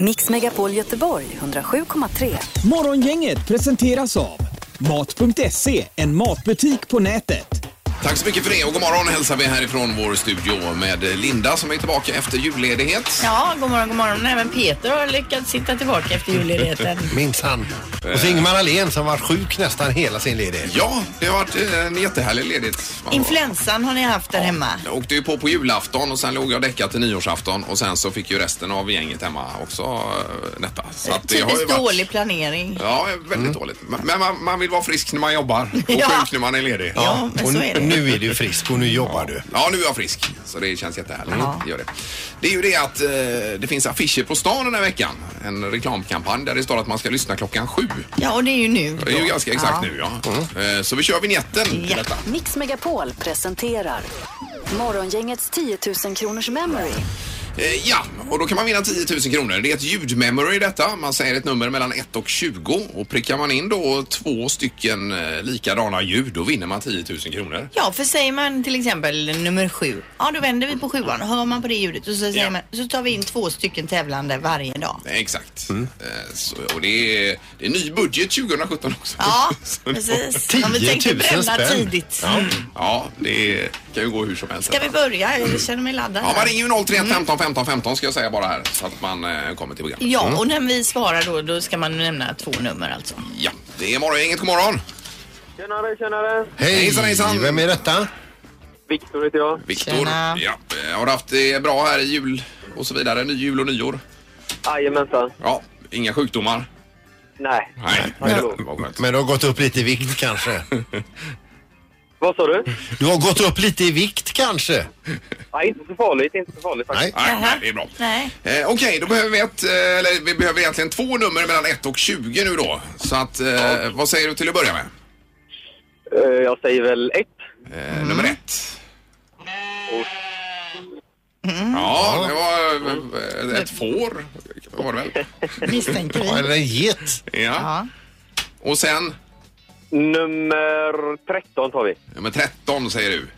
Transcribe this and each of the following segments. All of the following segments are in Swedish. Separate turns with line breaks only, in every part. Mix Megapol Göteborg 107,3.
Morgongänget presenteras av Mat.se, en matbutik på nätet.
Tack så mycket för det och god morgon hälsar vi härifrån vår studio med Linda som är tillbaka efter julledighet.
Ja, god morgon, god morgon. Även Peter har lyckats sitta tillbaka efter julledigheten.
Minsann. Och så Ingemar Ahlén som var sjuk nästan hela sin ledighet.
Ja, det har varit eh, en jättehärlig ledighet. Man
Influensan har ni haft där hemma.
Jag åkte ju på på julafton och sen låg jag däckad till nyårsafton och sen så fick ju resten av gänget hemma också eh, netta. Så att det har ju
Typiskt
varit...
dålig planering.
Ja, väldigt dåligt. Men- Men man, man vill vara frisk när man jobbar och
Ja.
sjuk när man är ledig.
Ja. men
och
så är det.
nu är du frisk och nu jobbar du.
Ja, nu är jag frisk. Så det känns jättehärligt. Det Gör det. det är ju det att eh, det finns affischer på stan den här veckan. En reklamkampanj där det står att man ska lyssna klockan sju.
Ja, och det är ju nu.
Det är ju
då.
ganska exakt
Ja. Mm.
nu ja. Eh, Så vi kör vignetten till
Ja.
detta.
Mix Megapol presenterar Morgongängets 10 000 kronors memory.
Eh, Ja, och då kan man vinna 10 000 kronor. Det är ett ljudmemory detta. Man säger ett nummer mellan 1 och 20 och prickar man in då två stycken eh, likadana ljud då vinner man 10 000 kronor.
Ja, för säger man till exempel nummer sju, ja då vänder vi på sjuan, hör man på det ljudet och så, säger
Ja.
man, så tar vi in två stycken tävlande varje dag.
Eh, Exakt.
Mm.
Eh, Så, och det är, det är ny budget 2017 också.
Ja,
Så-
precis.
10
Ja, vi tänkte
000
bränna
spänn.
tidigt.
Ja, det kan ju gå hur som helst.
Ska vi börja? Mm. Jag känner mig laddad.
Ja, man ringer ju 031 15 15 15 ska jag säga bara här så att man eh, kommer till programmet.
Ja, och när vi svarar då, då ska man nämna två nummer alltså.
Ja, det är morgongänget. God morgon!
Tjenare, tjenare!
Hej,
Hejsan, hejsan.
vem är detta?
Viktor heter jag.
Viktor.
Tjena.
Ja, eh, har du haft det bra här i jul och så vidare? Ny jul och nyår?
Jajamensan.
Ja, inga sjukdomar?
Nej.
Nej.
Men-
Vad skönt.
Men du har gått upp lite i vikt kanske?
Vad sa du?
Du har gått upp lite i vikt kanske?
Nej, inte så farligt. Inte så farligt faktiskt.
Nej.
Nej, nej, det är bra.
Nej.
Eh, Okej, då behöver vi ett, eh, eller vi behöver egentligen två nummer mellan 1 och 20 nu då. Så att, eh, vad säger du till att börja med?
Eh, jag säger väl ett.
Eh,
Mm.
Nummer ett.
Mm.
Ja, det var eh, ett får. Var det väl?
Misstänker
Ja,
vi.
Eller en get?
Ja.
Ja.
Och sen
Nummer 13 tar vi.
nummer 13 säger du.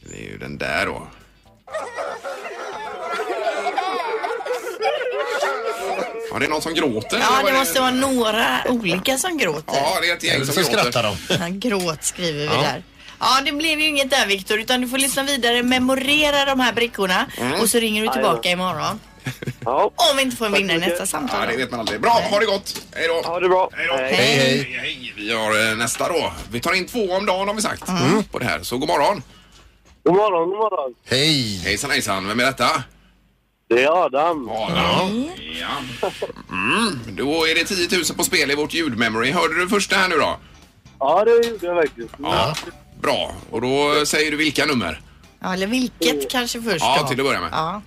Det är ju den där då. Ja, det är någon som gråter. eller
ja,
vad är
det måste vara några olika som gråter.
Ja, det är ett gäng
Eller
som
så skrattar de.
Ja. Gråt skriver vi där. Ja, det blev ju inget där Viktor, utan du får lyssna vidare, memorera de här brickorna
Mm.
och så ringer du tillbaka imorgon.
Ja.
Om vi inte får en vinnare i nästa samtal.
Ja, det vet man aldrig. Bra, ha det gott. Hej då.
Ha det bra.
Hej då.
Hej.
Hej,
Hej,
hej.
hej. Vi har eh, nästa då. Vi tar in två om dagen har vi sagt
Mm.
på det här. Så god morgon.
God morgon, god morgon.
Hej.
Hejsan hejsan, vem är detta?
Det är Adam.
Adam. Ja. Mm, då är det 10 000 på spel i vårt ljudmemory. Hörde du första här nu då?
Ja, det gjorde jag verkligen.
Ja. Bra, och då säger du vilka nummer?
Ja, eller vilket kanske först
Ja,
då.
till att börja med.
Ja.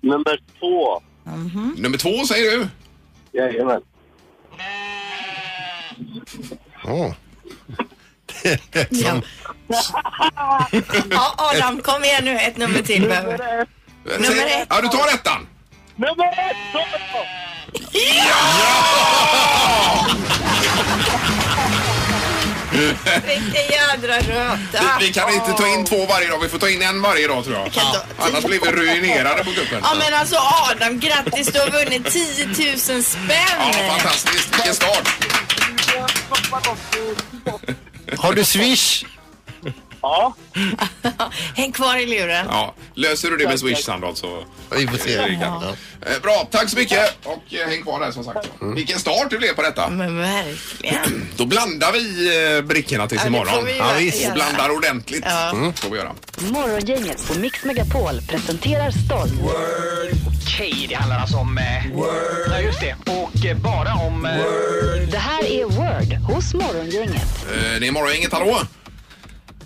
Nummer två.
Mm.
Nummer två säger du?
Jajamän.
Åh. Det lät som-
ja, Adam, kom igen nu, ett nummer till behöver vi. Nummer
Säg-
ett.
Ja, du tar ettan.
Nummer ett! tar jag!
Vilken jädra röta!
Vi, vi kan inte ta in två varje dag, vi får ta in en varje dag tror jag.
kan ta-
Annars blir vi ruinerade på kuppen.
Ja men alltså Adam, grattis du har vunnit 10 000
Ja,
spänn!
fantastiskt. Vilken start.
Har du swish?
Ja,
Häng kvar i luren.
Ja, löser du det med Swish Sandholt så...
Vi får se. Ja.
Eh, Bra, tack så mycket. Och eh, häng kvar där som sagt. Vilken start det blev på detta.
Men verkligen.
Då blandar vi eh, brickorna tills
Ja, det får
imorgon.
vi ju Ja, visst.
Och
göra.
blandar ordentligt.
Ja.
Mm. Får vi göra.
Morgongänget på Mix Megapol presenterar stolt
Okej, det handlar alltså om... Eh, ja, just det. Och eh, bara om... Eh,
Det här är Word hos Morgongänget.
Eh, Det är morgongänget, hallå?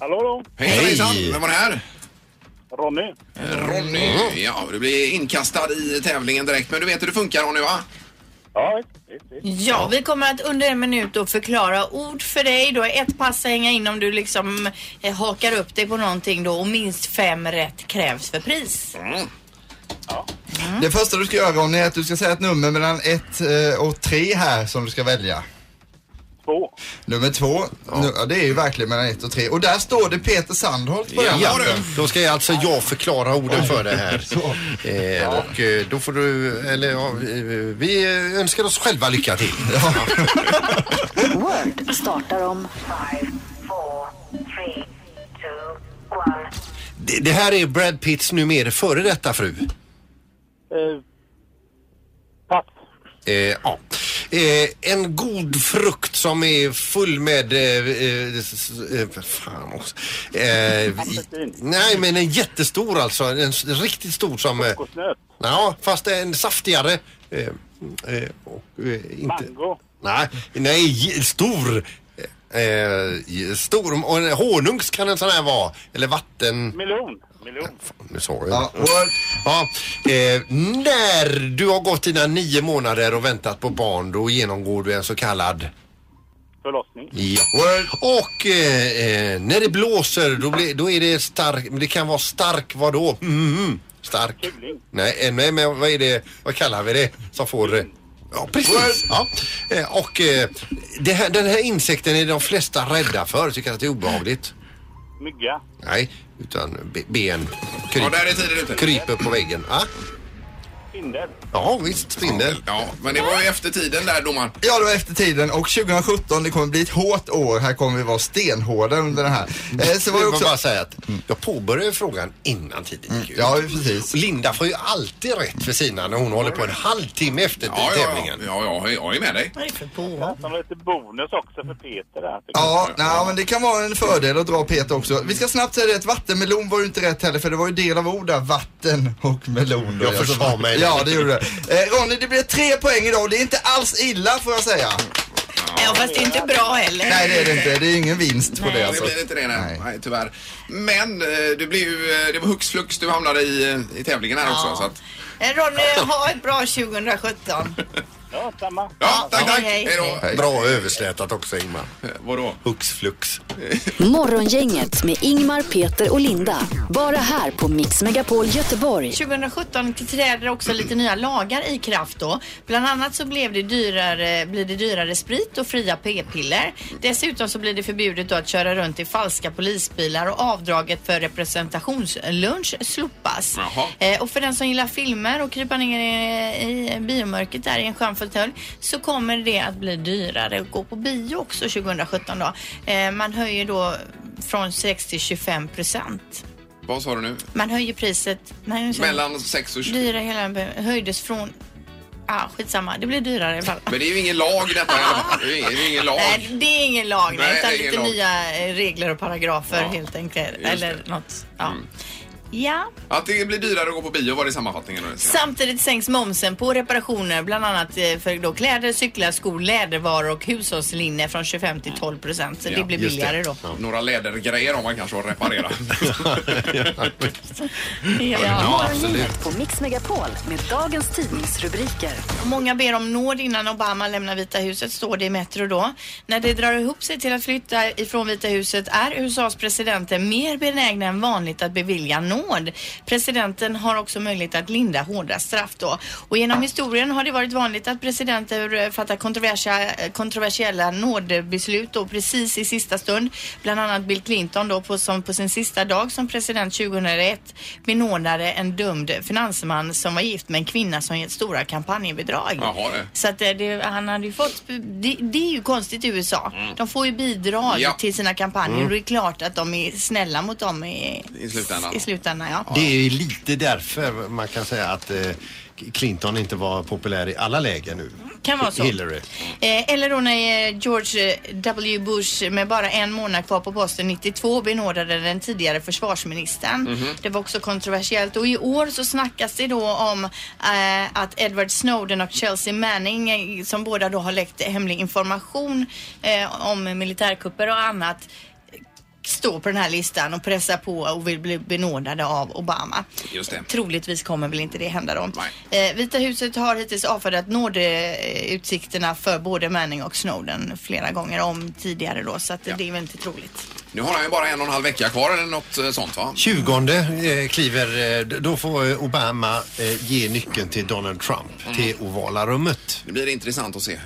hallå då.
Hej,
Hej.
hejsan. Vem var det här?
Ronny.
Eh, Ronny. Ja, du blir inkastad i tävlingen direkt. Men du vet hur det funkar Ronny va?
Ja,
Ja, vi kommer att under en minut då förklara ord för dig. Du har ett pass att hänga in om du liksom eh, hakar upp dig på någonting då och minst fem rätt krävs för pris.
Mm.
Det första du ska eh, göra Ronny är att du ska säga ett nummer mellan 1 och 3 här som du ska välja.
två.
Nummer två, Nu- ja, det är ju verkligen mellan ett och tre. Och där står det Peter Sandholt på den
Ja,
lappen.
då ska jag alltså jag förklara orden för det här. Eh, och eh, då får du, eller ja, vi- vi önskar oss själva lycka till.
Word startar om
Det, det här är Brad Pitts numera före detta fru.
Eh, pass.
Eh, ja. Eh, en god frukt som är full med... Eh, eh, s- eh, fan också. Eh, i- nej, men en jättestor alltså. En s- riktigt stor som... Eh,
Kokosnöt.
ja, fast en saftigare. Eh, eh, och, eh, inte,
Mango.
Nej, nej, j- stor. Eh, j- stor. Och en honungs kan en sån här vara. Eller vatten...
Melon. Melon.
Nu sa jag
Ja, och
Ja, eh, när du har gått dina nio månader och väntat på barn då genomgår du en så kallad...
Förlossning.
Ja. Och eh, eh, när det blåser då, blir, då är det stark... men Det kan vara stark vadå? Mhm. Stark.
Kuling.
Nej, eh, nej, men vad är det? Vad kallar vi det som får... eh, Ja, precis. Ja. Eh, och eh, det här, den här insekten är de flesta rädda för. Tycker att det är obehagligt.
Mygga.
Nej, utan be- ben
Ja, där
kryper,
är tiden ute.
kryper på väggen. Ah?
Spindel.
Ja, visst. Spindel.
Ja, men det var ju efter tiden där domaren.
Ja, det var efter tiden och 2017 det kommer bli ett hårt år. Här kommer vi vara stenhårda under den här. Eh, så var det
Jag vill bara
också...
säga att jag påbörjade frågan innan
Mm.
tiden gick ut.
Ja, precis.
Linda får ju alltid rätt för sina när hon håller på en halvtimme efter
Ja, ja, ja,
tävlingen.
ja, ja, jag är med dig.
Vad är det för på?
Som lite bonus också för Peter där. tycker jag.
Ja, nej, men det kan vara en fördel att dra Peter också. Vi ska snabbt säga det att vattenmelon var ju inte rätt heller för det var ju del av ord där. Vatten och melon. då.
Jag
Alltså,
försade
va-
mig.
Ja, det gjorde det. Eh, Ronny, det blir tre poäng idag och det är inte alls illa får jag säga.
Ja, fast det är inte bra heller.
Nej, det är det inte. Det är ingen vinst på det
Det
alltså.
blir inte det, nej.
Nej.
nej tyvärr. Men eh, det, blev ju, eh, det var hux flux du hamnade i, eh, i tävlingen här också. Så att,
Eh, Ronny, ha ett bra 2017.
Ja, samma.
ja, tack,
Hej,
tack.
hej.
Hej då.
Bra överslätat också Ingmar.
Eh, Vadå?
Hux flux.
Morgongänget med Ingmar, Peter och Linda. Bara här på Mix Megapol Göteborg.
2017 träder också lite nya lagar i kraft då. Bland annat så blev det dyrare, blir det dyrare sprit och fria p-piller. Dessutom så blir det förbjudet då att köra runt i falska polisbilar och avdraget för representationslunch slopas.
Jaha.
Eh, och för den som gillar filmer och krypa ner i, i biomörkret där i en skön fåtölj så kommer det att bli dyrare att gå på bio också 2017 då. Eh, man höjer då från 6 till 25 procent.
Vad sa du nu?
Man höjer priset. Man höjer
Mellan 6 och 20.
dyra hela den höjdes från... Ah, skitsamma, det blir dyrare i alla fall.
Men det är ju ingen lag detta i alla fall. Det är det är ingen lag.
Nej, det är ingen lag, nej,
Nej,
utan
det är ingen
lite
lag.
nya eh, regler och paragrafer
Ja,
helt enkelt.
det. Mm.
Eller något. Ja. ja.
Att det blir dyrare att gå på bio var det sammanfattningen. då?
Samtidigt sänks momsen på reparationer, bland annat eh, för då kläder, cyklar, skor, lädervaror och hushållslinne från 25 till 12 procent. Så
Ja,
det blir
just det.
billigare då.
Några lädergrejer har man kanske att reparera.
Ja.
Morgongänget på Mix Megapol med dagens tidningsrubriker.
Många ber om nåd innan Obama lämnar Vita huset, står det i Metro då. När det drar ihop sig till att flytta ifrån Vita huset är USAs presidenter mer benägna än vanligt att bevilja nåd. Presidenten har också möjlighet att linda hårda straff då. Och genom historien har det varit vanligt att presidenter eh, fattar kontroversia- eh, kontroversiella nådbeslut då precis i sista stund. Bland annat Bill Clinton då på, som på sin sista dag som president 2001 benådade en dömd finansman som var gift med en kvinna som gett stora kampanjbidrag.
Jaha, det.
Så att eh, det, han hade ju fått, det, det är ju konstigt i USA. De får ju bidrag
Mm. Ja. Mm.
till sina kampanjer och det är klart att de är snälla mot dem i,
I slutändan.
I slutändan ja.
Det är ju lite därför man kan säga att eh, Clinton inte var populär i alla lägen nu.
Kan vara så.
Hillary.
Eh, eller då när eh, George eh, W Bush med bara en månad kvar på posten 92 benådade den tidigare försvarsministern.
Mhm.
Det var också kontroversiellt och i år så snackas det då om eh, att Edward Snowden och Chelsea Manning eh, som båda då har läckt hemlig information eh, om militärkupper och annat står på den här listan och pressar på och vill bli benådade av Obama.
Just det.
Troligtvis kommer väl inte det hända då. Eh, Vita huset har hittills avfärdat nådeutsikterna för både Manning och Snowden flera gånger om tidigare då så att det är väl inte troligt.
Nu har han ju bara en och en halv vecka kvar eller något eh, sånt va?
20 eh, kliver, eh, d- då får eh,
Mm.
Obama eh, ge nyckeln till Donald Trump till ovala rummet.
Det blir intressant att se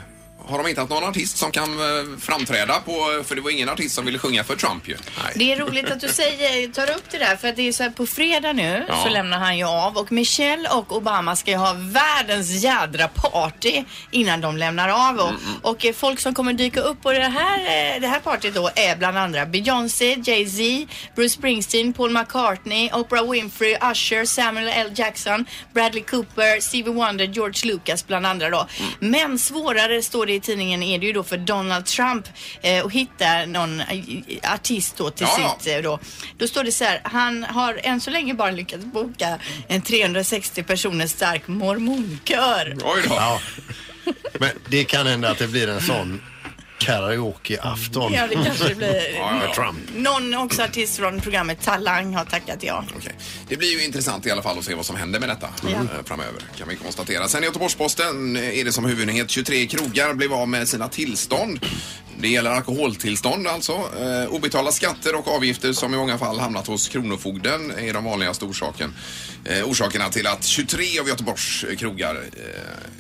har de hittat någon artist som kan eh, framträda på, för det var ingen artist som ville sjunga för Trump ju. Nej.
Det är roligt att du säger, tar upp det där för att det är så här på fredag nu
Ja.
så lämnar han ju av och Michelle och Obama ska ju ha världens jädra party innan de lämnar av och, och eh, folk som kommer dyka upp på det här, eh, det här partyt då är bland andra Beyoncé, Jay-Z, Bruce Springsteen, Paul McCartney, Oprah Winfrey, Usher, Samuel L. Jackson, Bradley Cooper, Stevie Wonder, George Lucas bland andra då. Men svårare står det i tidningen är det ju då för Donald Trump eh, att hitta någon eh, artist då till
Ja, ja.
sitt eh, då. Då står det så här, han har än så länge bara lyckats boka en 360 personer stark mormonkör.
Oj då.
Ja. Men det kan hända att det blir en sån karaokeafton.
Ja, det kanske det blir.
Med Trump.
Någon också artist från programmet Talang har tackat ja.
Okej. Det blir ju intressant i alla fall att se vad som händer med detta eh, framöver kan vi konstatera. Sen i Göteborgs-Posten eh, är det som huvudnyhet 23 krogar blev av med sina tillstånd. Det gäller alkoholtillstånd alltså. Eh, obetalda skatter och avgifter som i många fall hamnat hos Kronofogden är de vanligaste orsaken. Eh, orsakerna till att 23 av Göteborgs krogar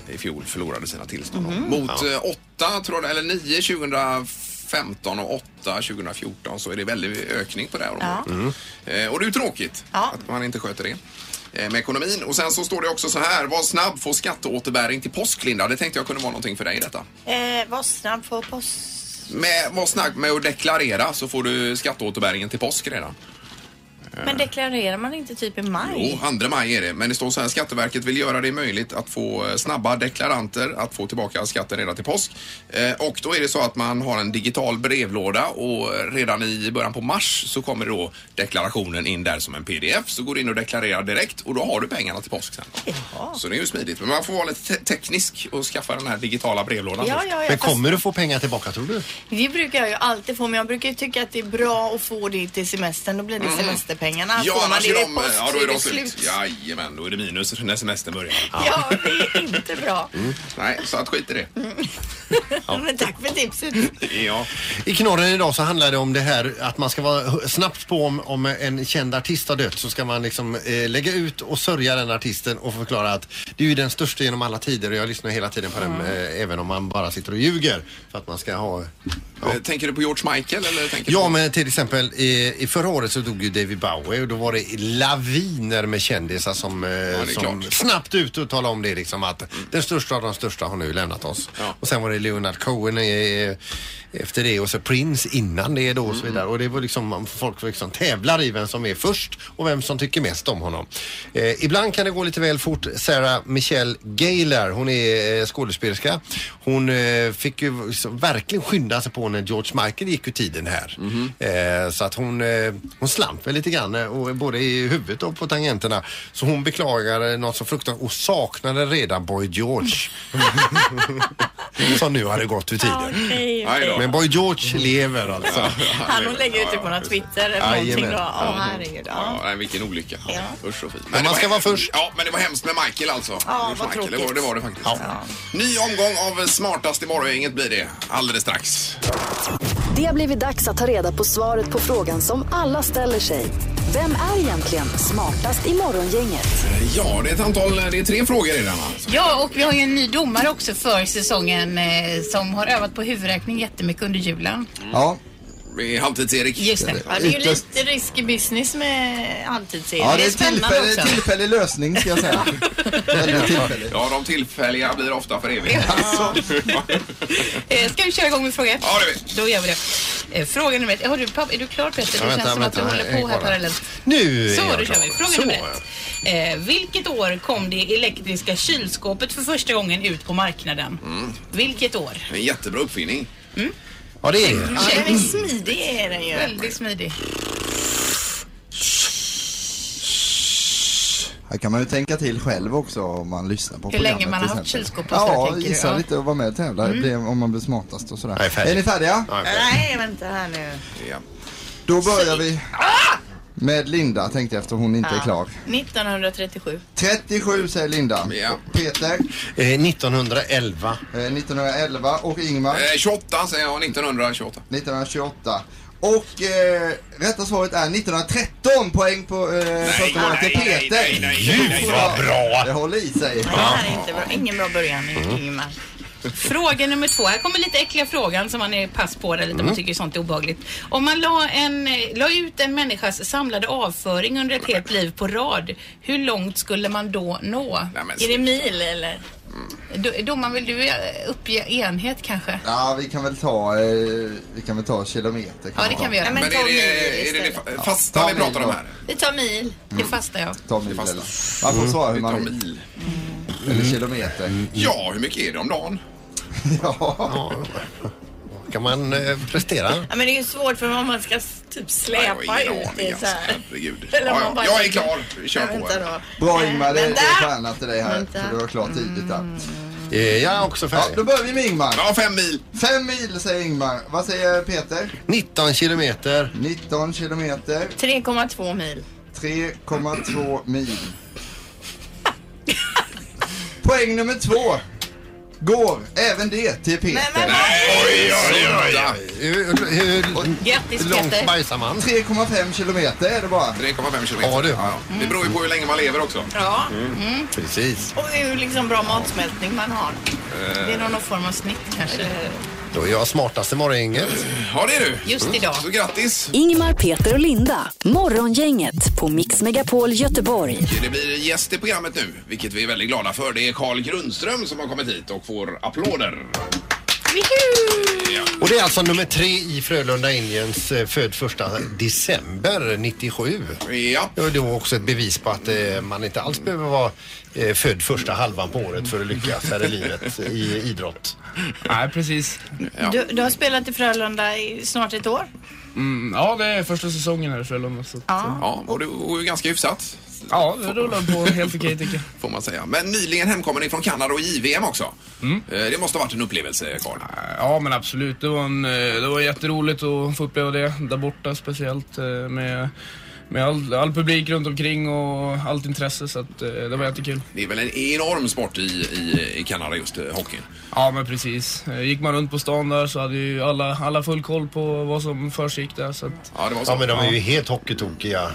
eh, i fjol förlorade sina tillstånd. Mot eh, 8, tror jag, eller 9 2015 och 8 2014 så är det väldigt ökning på det här området. Eh, Och det är ju tråkigt
Ja.
att man inte sköter det eh, med ekonomin. Och sen så står det också så här, var snabb, få skatteåterbäring till påsk Linda. Det tänkte jag kunde vara någonting för dig detta.
Eh, var snabb på post.
Med, var snabb med att deklarera så får du skatteåterbäringen till påsk redan.
Men deklarerar man inte typ i maj?
Eh. Jo, 2 maj är det. Men det står så här, Skatteverket vill göra det möjligt att få eh, snabba deklaranter att få tillbaka skatten redan till påsk. Eh, Och då är det så att man har en digital brevlåda och eh, redan i början på mars så kommer då deklarationen in där som en pdf. Så går du in och deklarerar direkt och då har du pengarna till påsk sen. Så det är ju smidigt. Men man får vara lite te- teknisk och skaffa den här digitala brevlådan
Ja,
först.
ja, ja.
Men
Fast
kommer du få pengar tillbaka tror du?
det brukar jag ju alltid få, men jag brukar ju tycka att det är bra att få det till semestern. Då blir det semesterpengarna.
Mm. Ja,
får man
annars är
det i
de, eh,
post
ja, då är de slut.
slut.
Jajamän, då är det minus när semestern börjar.
Ja, det är inte bra.
Mm,
Nej, så att skit i det.
Mm. Men tack för tipset.
Ja.
I knorren idag så handlar det om det här att man ska vara hu- snabbt på om, om en känd artist har dött så ska man liksom eh, lägga ut och sörja den artisten och förklara att det är ju den största genom alla tider och jag lyssnar hela tiden på den eh, även om man bara sitter och ljuger för att man ska ha
Eh, Tänker du på George Michael eller tänker
Ja
du på...
men till exempel i, i förra året så dog ju David Bowie och då var det laviner med kändisar som, eh,
är
som
klart.
snabbt ut och talade om det liksom att den största av de största har nu lämnat oss.
Ja.
Och sen var det Leonard Cohen eh, efter det och så Prince innan det då och
Mm.
så vidare. Och det var liksom folk liksom tävlar i vem som är först och vem som tycker mest om honom. Eh, ibland kan det gå lite väl fort. Sarah Michelle Gaylor, hon är eh, skådespelerska. Hon eh, fick ju så, verkligen skynda sig på när George Michael gick ur tiden här. Eh, så att hon, eh, hon slamp väl lite grann eh, och, både i huvudet och på tangenterna. Så hon beklagar eh, något så fruktansvärt och saknade redan Boy George. som nu hade gått ur tiden.
Okej.
Nej då.
Men Boy George lever alltså.
Han hon lägger ut det på någon Twitter eller någonting då.
Jajamän.
Åh herregud.
Ja,
Ja.
nej, vilken olycka.
Ja.
Usch och fint.
Men man ska
det var
vara först.
Ja, men det var hemskt med Michael alltså. George
vad
Michael. Det var,
tråkigt.
det var det faktiskt.
Ja.
Ny omgång av Smartast i morgongänget blir det alldeles strax.
Det har blivit dags att ta reda på svaret på frågan som alla ställer sig. Vem är egentligen smartast i morgongänget?
Eh, Ja, det är ett antal, det är tre frågor i den här.
Ja, och vi har ju en ny domare också för säsongen eh, som har övat på huvudräkning jättemycket under julen.
Ja,
Det är Halvtids-Erik.
Just det.
Ja, det är ju
Ytterst.
lite risky business med halvtidsserien.
ja det
det
är
spännande
tillfällig,
också.
tillfällig lösning ska jag säga. Väldigt tillfällig.
Ja, de tillfälliga blir ofta för evigt.
Eh, Ska vi köra igång med fråga ett?
Ja, det vet.
Då gör vi det. Eh, Fråga nummer ett. Har du, papp- är du klar Peter?
Ja,
det
vänta,
känns som
vänta,
att du håller
jag
på
är
här
kvar.
parallellt.
Nu är
Så,
jag
då kör
klar.
vi. Fråga
Så,
nummer
ja.
ett. Eh, vilket år kom det elektriska kylskåpet för första gången ut på marknaden? Vilket år?
En jättebra uppfinning.
Ja det är det.
Ja, den är smidig är den ju.
Väldigt smidig.
Här kan man ju tänka till själv också om man lyssnar på
Hur
programmet.
länge man har
till
haft
exempel.
kylskåp och så
Ja,
tänker du,
gissa
ja. Mm.
lite och vara med och tävla blir- om man blir smartast och sådär.
Jag är färdig.
ni färdiga?
Ja, jag-
Nej, vänta här nu.
Ja.
Då börjar vi med Linda tänkte jag eftersom hon inte är klar.
1937.
37 säger Linda.
Ja.
Peter,
Mm.
Eh, 1911.
eh, 1911 och Ingmar,
Eh, 28 säger jag, 1928.
1928. Och eh, rätta svaret är 1913 poäng på eh, första målet till
nej, nej,
Peter.
nej, nej, nej, nej.
Vad bra!
Det håller i sig.
Mm.
Det här är inte bra. ingen bra början Ingemar.
Fråga nummer två. Här kommer lite äckliga frågan som man är pass på där lite.
Mm.
Man tycker sånt är obehagligt. Om man la, en, eh, la ut en människas samlade avföring under ett helt liv på rad, hur långt skulle man då nå?
Nej, men, Mm.
Är det mil eller?
Do- Domaren, vill du eh, uppge enhet kanske?
Ja, vi kan väl ta, eh, vi kan väl ta kilometer. kan
Ja, det kan vi göra.
Nej,
men är
ta mil
det, är det, det Mm.
istället.
fa- fasta vi
Ta
pratar om
mil
här?
Vi tar mil.
Det fastar jag.
Ta mil
fasta.
eller. Man får svara hur
Vi tar
man vill.
mil.
Eller kilometer.
Ja,
Mm.
hur mycket är det om dagen?
Ja.
Kan man eh, prestera?
Ja, men det är ju svårt för om man ska s- typ släpa
Nej, jag har ingen
ut det
aning,
så
alltså.
här.
Herregud.
Eller
Ja,
om man
ja.
bara
Jag är
tänker-
klar. Vi kör
Nej,
på
vänta
här.
då.
Bra Ingmar, det det
Vänta.
är stjärna till dig här.
Vänta.
För du var klar tidigt där.
Eh, Jag är också
Ja, då
färdig.
börjar vi med Ingmar.
Ja, fem mil.
Fem mil säger Ingmar. Vad säger Peter?
19 kilometer.
19 kilometer,
3,2 mil.
3,2 mil. Poäng nummer två går även det till
Men
Peter.
vad-
Oj, oj, oj.
Hur, hur,
Grattis
hur långt
Peter.
bajsar man?
3,5 kilometer är det bara.
3,5 kilometer.
Ja, du.
Det beror ju på hur länge man lever också.
Ja,
Precis.
och hur liksom bra matsmältning man har.
Det är någon form av snitt kanske.
Då är jag smartaste morgongänget.
Ja, det är du.
Just idag.
Så grattis.
Ingmar, Peter och Linda. Morgongänget på Mix Megapol Göteborg.
Det blir gäst i programmet nu, vilket vi är väldigt glada för. Det är Carl Grundström som har kommit hit och får applåder. Ja.
Och det är alltså nummer tre i Frölunda Indians eh, född första december 97.
Ja.
Ja, Det var också ett bevis på att eh, man inte alls behöver vara eh, född första halvan på året för att lyckas här i livet i idrott.
Nej, precis.
Ja.
Du, du har spelat i Frölunda i snart ett år.
Mm, ja, det är första säsongen här i Frölunda. Så att, ja.
Ja, och det går ju ganska hyfsat,
ja, det rullar på helt okej tycker jag.
får man säga. Men nyligen hemkommen ifrån Kanada och JVM också.
Mm.
Eh, Det måste ha varit en upplevelse, Carl.
Ja, men absolut. Det var, en, eh, det var jätteroligt att få uppleva det där borta speciellt eh, med, med all, all publik runt omkring och allt intresse. Så att, eh, det var jättekul.
Det är väl en enorm sport i, i, i Kanada, just eh, hockeyn.
Ja, men precis. Eh, Gick man runt på stan där så hade ju alla, alla full koll på vad som försiggick där. Så att,
Ja, det var så.
Ja, men de är ju helt hockeytokiga.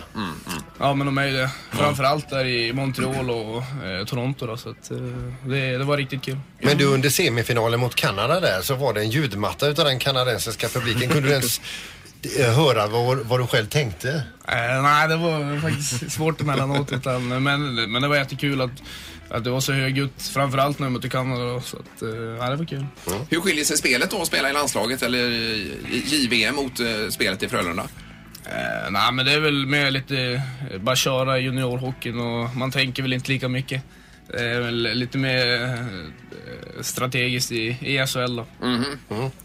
ja, men de är ju det. Framförallt där i Montreal och eh, Toronto då, så att, eh, det, det var riktigt kul.
Men du under semifinalen mot Kanada där så var det en ljudmatta utav den kanadensiska publiken. Kunde du ens eh, höra vad, vad du själv tänkte?
Eh, nej, det var faktiskt svårt emellanåt. Utan, men, men det var jättekul att, att det var så högljutt, framförallt när jag mötte Kanada. då, Så att, eh, ja, det var kul.
Hur skiljer sig spelet då att spela i landslaget eller i- i JVM mot eh, spelet i Frölunda?
Eh, nej, men det är väl mer lite eh, bara köra i juniorhockeyn och man tänker väl inte lika mycket. Det är väl lite mer eh, strategiskt i, i SHL då.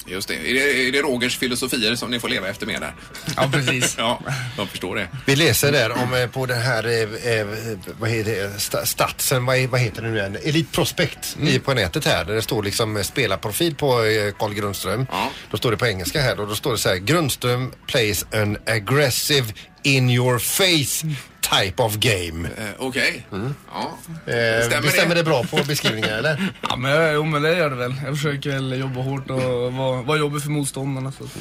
Just det. Är, det. är det Rogers filosofier som ni får leva efter mer där?
Ja, precis.
Ja, jag förstår det.
Vi läser där om eh, på den här, eh, eh, vad heter det, sta- statsen, vad, vad heter det nu igen? Elite Prospect i, på nätet här där det står liksom eh, spelarprofil på eh, Carl Grundström.
Ja.
Då står det på engelska här och då står det så här Grundström plays an aggressive in your face type of game.
Eh, Okej. Ja.
Eh,
Stämmer
det
det?
stämmer det bra på beskrivningen eller?
Ja, men, jag- jo, men det gör det väl. Jag försöker väl jobba hårt och vara, vara jobbig för motståndarna. Så. att-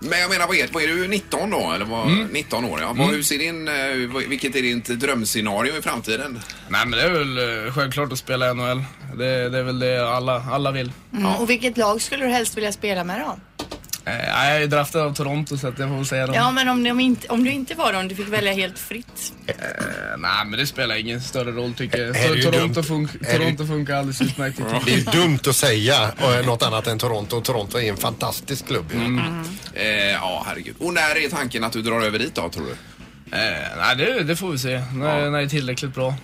Men jag menar, vad är, vad är du 19 då? Eller vad, 19 år, ja. Vad, hur ser din, eh, vad- vilket är ditt drömscenario i framtiden?
Nej, men det är väl eh, självklart att spela i NHL. Det, det är väl det alla, alla vill.
Mm. Och vilket lag skulle du helst vilja spela med då?
Eh, nej, jag är draftad av Toronto så att jag får väl säga dem.
Ja, men om, de inte, om du inte var dem, du fick välja helt fritt.
Eh, nej, men det spelar ingen större roll tycker jag.
Här är
Så
ju
Toronto,
dumt.
fun-
Här är ju-
Toronto funkar alldeles utmärkt. tycker jag.
Det är ju dumt att säga eh, något annat än Toronto och Toronto är en fantastisk klubb.
Eh, ja, herregud. Och när är tanken att du drar över dit då, tror du?
Eh, nej, det, det får vi se när, när det är tillräckligt bra.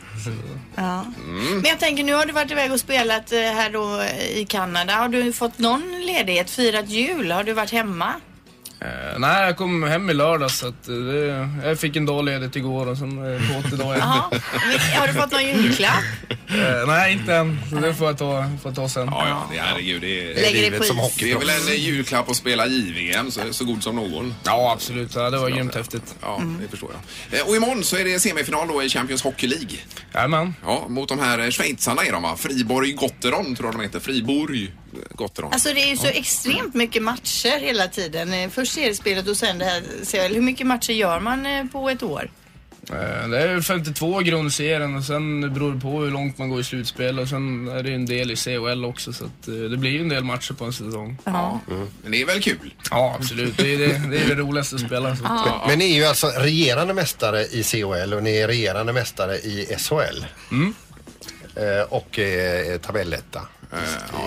Ja. Mm. Men jag tänker, nu har du varit iväg och spelat eh, här då eh, i Kanada. Har du fått någon ledighet? Firat jul? Har du varit hemma?
Eh, nej, jag kom hem i lördag så att, eh, det, jag fick en dag ledigt igår och sen eh, på åt idag igen.
Jaha. Men Har du fått någon julklapp?
Eh, nej, inte än. Så det får jag ta, får jag ta sen.
Ja, ja, det, herregud. Det är,
Lägger det
Livet
på
som
is.
det är
hockeyproffs.
väl en eh, julklapp att spela JVM, så, så god som någon.
Ja, absolut. Ja, det var grymt häftigt.
Ja, det förstår jag. Eh, Och imorgon så är det semifinal då i Champions Hockey League.
Jajamän.
Ja, mot de här eh, schweizarna är de va? Friborg Gotteron tror jag de heter. Friborg eh, Gotteron.
Alltså det är ju så extremt mycket matcher hela tiden. Eh, Först seriespelet och sen det här CL. Hur mycket matcher gör man eh, på ett år?
Eh, Det är 52 i grundserien och sen beror det på hur långt man går i slutspel och sen är det ju en del i CHL också så att eh, det blir ju en del matcher på en säsong.
Ja. Men det är väl kul?
Ja, absolut. Det är det, det, är det roligaste att spela. Så.
Men, men ni är ju alltså regerande mästare i CHL och ni är regerande mästare i SHL. Eh, och eh, tabelletta.
Ja,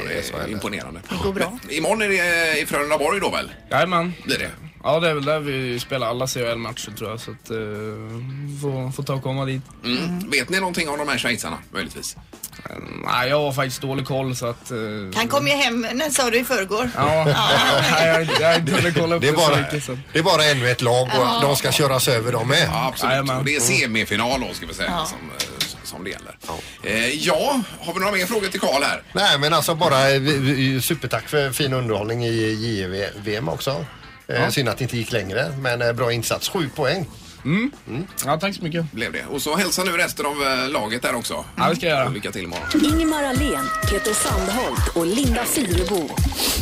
det är imponerande.
Det går bra.
Imorgon är det eh, i Frölundaborg då väl?
Jajamän.
Blir det?
Ja, det är väl där vi spelar alla CHL-matcher tror jag så att eh, får, får ta och komma dit.
Mm. Vet ni någonting om de här schweizarna möjligtvis?
Eh, Nej, jag har faktiskt dålig koll så att... eh,
Han kom ju hem, när sa du i förrgår?
Ja, Nej, jag, jag, har inte hunnit kolla upp
Det är,
så
bara,
mycket, så.
det är bara ännu ett lag och de ska köras över de med.
Ja, absolut.
Jajamän.
Och det är semifinal då ska vi säga
Ja.
som, eh, som det gäller. Eh, ja, har vi några mer frågor till Karl här?
Nej men alltså bara eh, vi- vi- supertack för fin underhållning i JVM också. Eh, Synd att det inte gick längre men eh, bra insats. Sju poäng. Mm.
Ja, tack så mycket.
Blev det. Och så hälsa nu resten av eh, laget där också.
Ja, det ska jag göra.
Och lycka till imorgon.
Ingemar Ahlén, Peter Sandholt och Linda Fyrebo.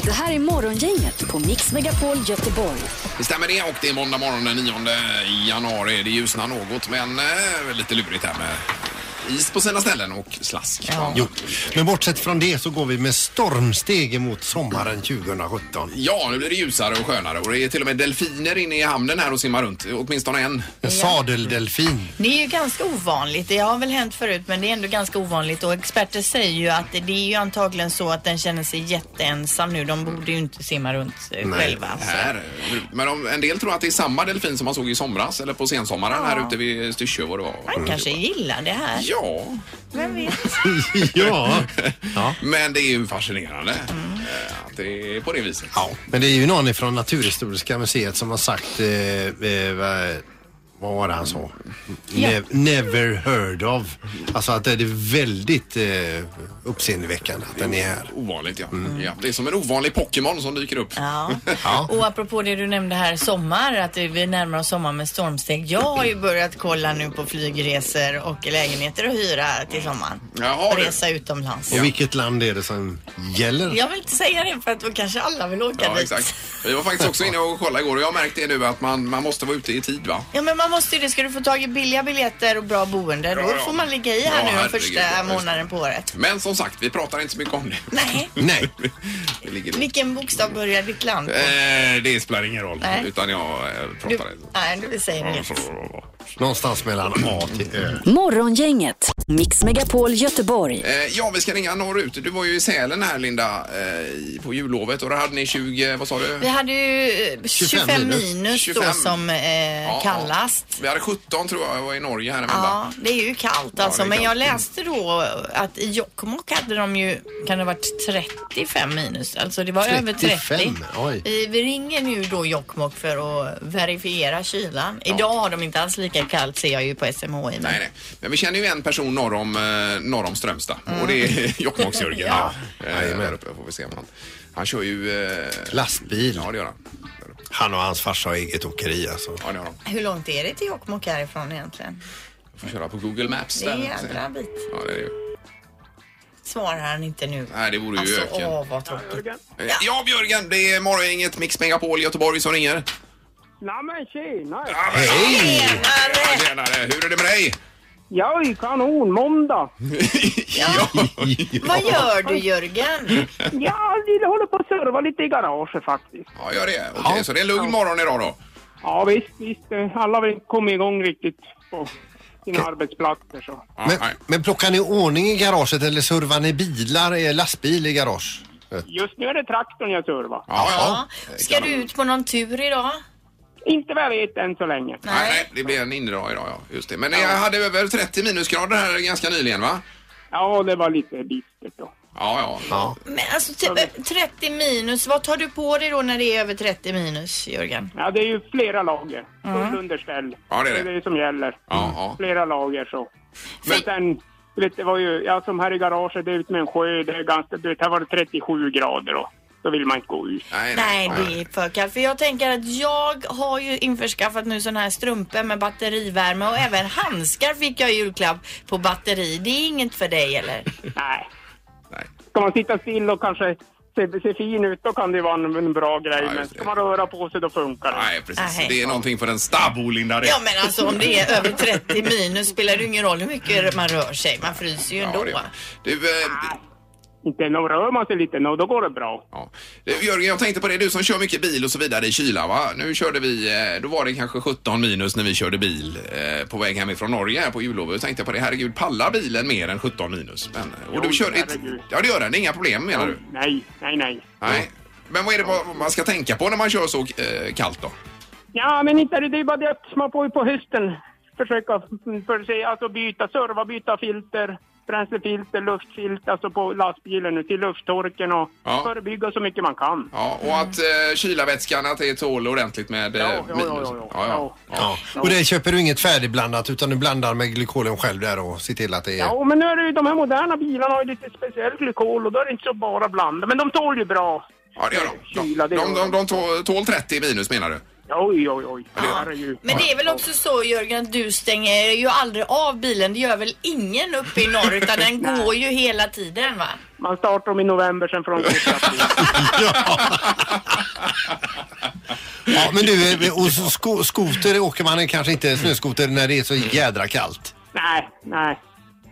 Det här är Morgongänget på Mix Megapol Göteborg.
Det stämmer det och det är måndag morgon den 9 januari. Det ljusnar något men eh, lite lurigt här med is på sina ställen och slask.
Jo. Men bortsett från det så går vi med stormsteg emot sommaren 2017.
Ja, nu blir det ljusare och skönare och det är till och med delfiner inne i hamnen här och simmar runt. Åtminstone en.
En sadeldelfin.
Det är ju ganska ovanligt. Det har väl hänt förut men det är ändå ganska ovanligt och experter säger ju att det är ju antagligen så att den känner sig jätteensam nu. De borde ju inte simma runt eh, själva. Så.
Här. Men om, en del tror att det är samma delfin som man såg i somras eller på sensommaren här ute vid Styrsö vad det var.
Han kanske gillar det här.
Ja,
Vem vet?
ja.
men det är ju fascinerande eh, att det är på det viset.
ja. Men det är ju någon från Naturhistoriska museet som har sagt eh, eh, vad- vad var det han sa? Ne- never heard of. Alltså att det är väldigt eh, uppseendeväckande att den är här.
Ovanligt ja. ja. Det är som en ovanlig Pokémon som dyker upp.
Ja. Och apropå det du nämnde här sommar, att vi närmar oss sommar med stormsteg. Jag har ju börjat kolla nu på flygresor och lägenheter och hyra till sommaren.
Jaha,
Och
du.
resa utomlands.
Och vilket land är det som gäller?
Jag vill inte säga det för att då kanske alla vill åka
Ja,
dit.
exakt. Vi var faktiskt också inne och kollade igår och jag har märkt det nu att man, man måste vara ute i tid va?
Ja men man måste ju det. Ska du få tag i billiga biljetter och bra boende då
Ja, ja.
får man ligga i här
Ja,
nu den
herregud, ja,
första
just det.
månaden på året.
Men som sagt, vi pratar inte så mycket om det.
Nej,
Nej.
Det, ligger lågt.
vilken bokstav börjar ditt land på?
eh, det spelar ingen roll,
Nej.
utan jag eh,
Du,
pratar inte.
nej, du säger inget.
Någonstans mellan A till Ö.
Morgongänget, Mix Megapol Göteborg.
Eh, Ja, vi ska ringa norrut. Du var ju i Sälen här Linda eh, i- på jullovet och då hade ni 20, vad sa
Vi
du?
hade ju eh, 25, minus,
minus.
då
25.
som eh,
Ja,
kallast.
Vi hade 17 tror jag, jag var i Norge här
Ja,
emellan.
det är ju kallt alltså.
det är
Men jag
kallt. Mm.
läste då att i Jokkmokk hade de ju, kan det ha varit 35 minus? Alltså det var över 30.
35, oj.
Vi, vi ringer nu då Jokkmokk för att verifiera kylan. Idag har de inte alls lika kallt ser jag ju på SMHI.
Nej, nej. Men vi känner ju en person norr om, eh, norr om Strömstad och det är Mm. Jokkmokks-Jörgen.
Ja.
Eh, Där uppe får vi se om han... Han kör ju... Eh,
Lastbil.
Ja, det gör han.
Han och hans farsa har eget åkeri alltså.
Ja, det har de.
Hur långt är det till Jokkmokk härifrån egentligen?
Får köra på Google Maps
Det är
där.
en jädra bit.
Ja, det är ju.
Svarar han inte nu.
Nej, det vore ju
Alltså,
öken.
åh vad tråkigt.
Eh, Ja, Björgen, det är morgongänget Mix Megapol i Göteborg som ringer.
Nej men tjena!
Mm.
Hej!
Tjenare!
Tjenare, hur är det med dig?
Jag är ju kanon måndag.
Ja.
Vad gör du Jörgen?
Jag vill hålla på att serva lite i garaget faktiskt.
Ja, gör det. Okej, så det är en lugn morgon idag då?
Ja visst, visst. eh, Alla vill komma igång riktigt på sina arbetsplatser så.
Ja,
Men,
nej.
men plockar ni ordning i garaget eller servar ni bilar, eh, lastbil i garage?
Just nu är det traktorn jag servar.
ja, ja.
Ja. Ska du ut på någon tur idag?
Inte vad jag vet än så länge.
Nej, nej, det blir en innedag idag, ja. Just det. Men jag hade över 30 minusgrader här ganska nyligen, va?
Ja, det var lite bistert då.
Ja, ja.
Ja.
Men alltså t- 30 minus, vad tar du på dig då när det är över 30 minus, Jörgen?
Ja, det är ju flera lager. Full underställ.
Mm. Ja, det är det.
det som gäller.
Ja, ja.
Flera lager så. Men
Fy-
sen, du vet, det var ju, ja som här i garaget, det är ut med en sjö, det är ganska, du vet, här var det 37 grader då. Då vill man inte gå ut.
Nej,
Nej, det är för kallt. För jag tänker att jag har ju införskaffat nu sådana här strumpor med batterivärme och även handskar fick jag i julklapp på batteri. Det är inget för dig eller?
Nej.
Nej.
Ska man sitta still och kanske
ser, ser fin ut, då kan det vara en, en bra grej. Men ska man röra på sig, då funkar det.
Nej, precis. Det är någonting för en stabo, Linda. det.
Ja men alltså om det är över 30 minus spelar det ju ingen roll hur mycket man rör sig. Man fryser ju ändå.
eh,
Inte, nog rör man sig lite, nog, då går det bra.
Ah. Du, Jörgen, jag tänkte på det. Du som kör mycket bil och så vidare i kyla, va? Nu körde vi, eh, då var det kanske 17 minus när vi körde bil eh, på väg hemifrån Norge här på jullovet. Jag tänkte jag på det, herregud, pallar bilen mer än 17 minus? Men, eh, och du
Jo,
kör inte...
herregud.
Ja, det gör den. Det är inga problem, menar du?
Nej, nej, nej.
Nej. Men vad är det vad man ska tänka på när man kör så eh, kallt då?
Ja, men inte är det, det är bara det att man får ju på hösten försöka för sig, alltså byta serva, byta filter, bränslefilter, luftfilter, alltså på lastbilen nu till lufttorken och
Ja.
förebygga så mycket man kan.
Ja, och att eh, kylarvätskan, att det tål ordentligt med eh, minus. Ja, ja.
Ja. Och det köper du inget färdigblandat utan du blandar med glykolen själv där och ser till att det är...
Ja, men nu är det ju, de här moderna bilarna har ju lite speciell glykol och då är det inte så bara blanda, men de tål ju bra.
Ja, det gör de. De, de, de, tå- tål 30 minus menar du?
Oj, oj, oj.
Men det är väl också så Jörgen att du stänger ju aldrig av bilen. Det gör väl ingen uppe i norr utan den går ju hela tiden va?
Man startar dem i november sen från
Ja, men du, eh, och så sko skoter åker man eh, kanske inte snöskoter när det är så jädra kallt.
Nej, nej.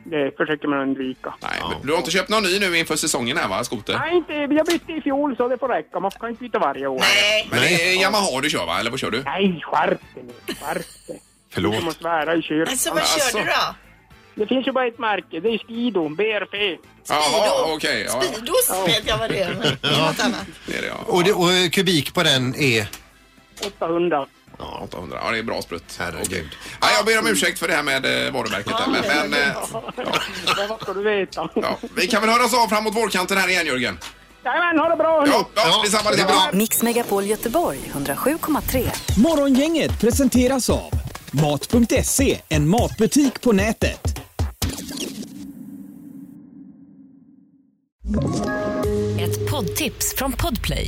Det försöker man undvika.
Nej, men Du har inte köpt någon ny nu inför säsongen här va, skoter?
Nej, inte, jag bytte i fjol så det får räcka. Man kan inte byta varje år. Nej,
Men det är Yamaha du kör va, eller vad kör du?
Nej, skärp dig nu. Skärp dig. Du
Förlåt.
kommer svära i kyrkan.
Alltså, vad körde Alltså. du då?
Det finns ju bara ett märke. Det är Skido, BRP.
Jaha, okej. ja, ja.
Speedos vet jag vad det är. men Något annat.
Det är det, ja.
Och, det, och eh, kubik på den är?
800.
Ja, 800. Ja, det är bra sprutt. Herregud. Ja, jag ber om ursäkt för det här med eh, varumärket. där, men, men, eh,
Men vad ska du veta?
ja, vi kan väl höras av framåt vårkanten här igen, Jörgen?
Jajamän, ha det bra!
Ja, ja detsamma, detsamma.
Mix Megapol Göteborg 107,3.
Morgongänget presenteras av Mat.se, en matbutik på nätet.
Ett poddtips från Podplay.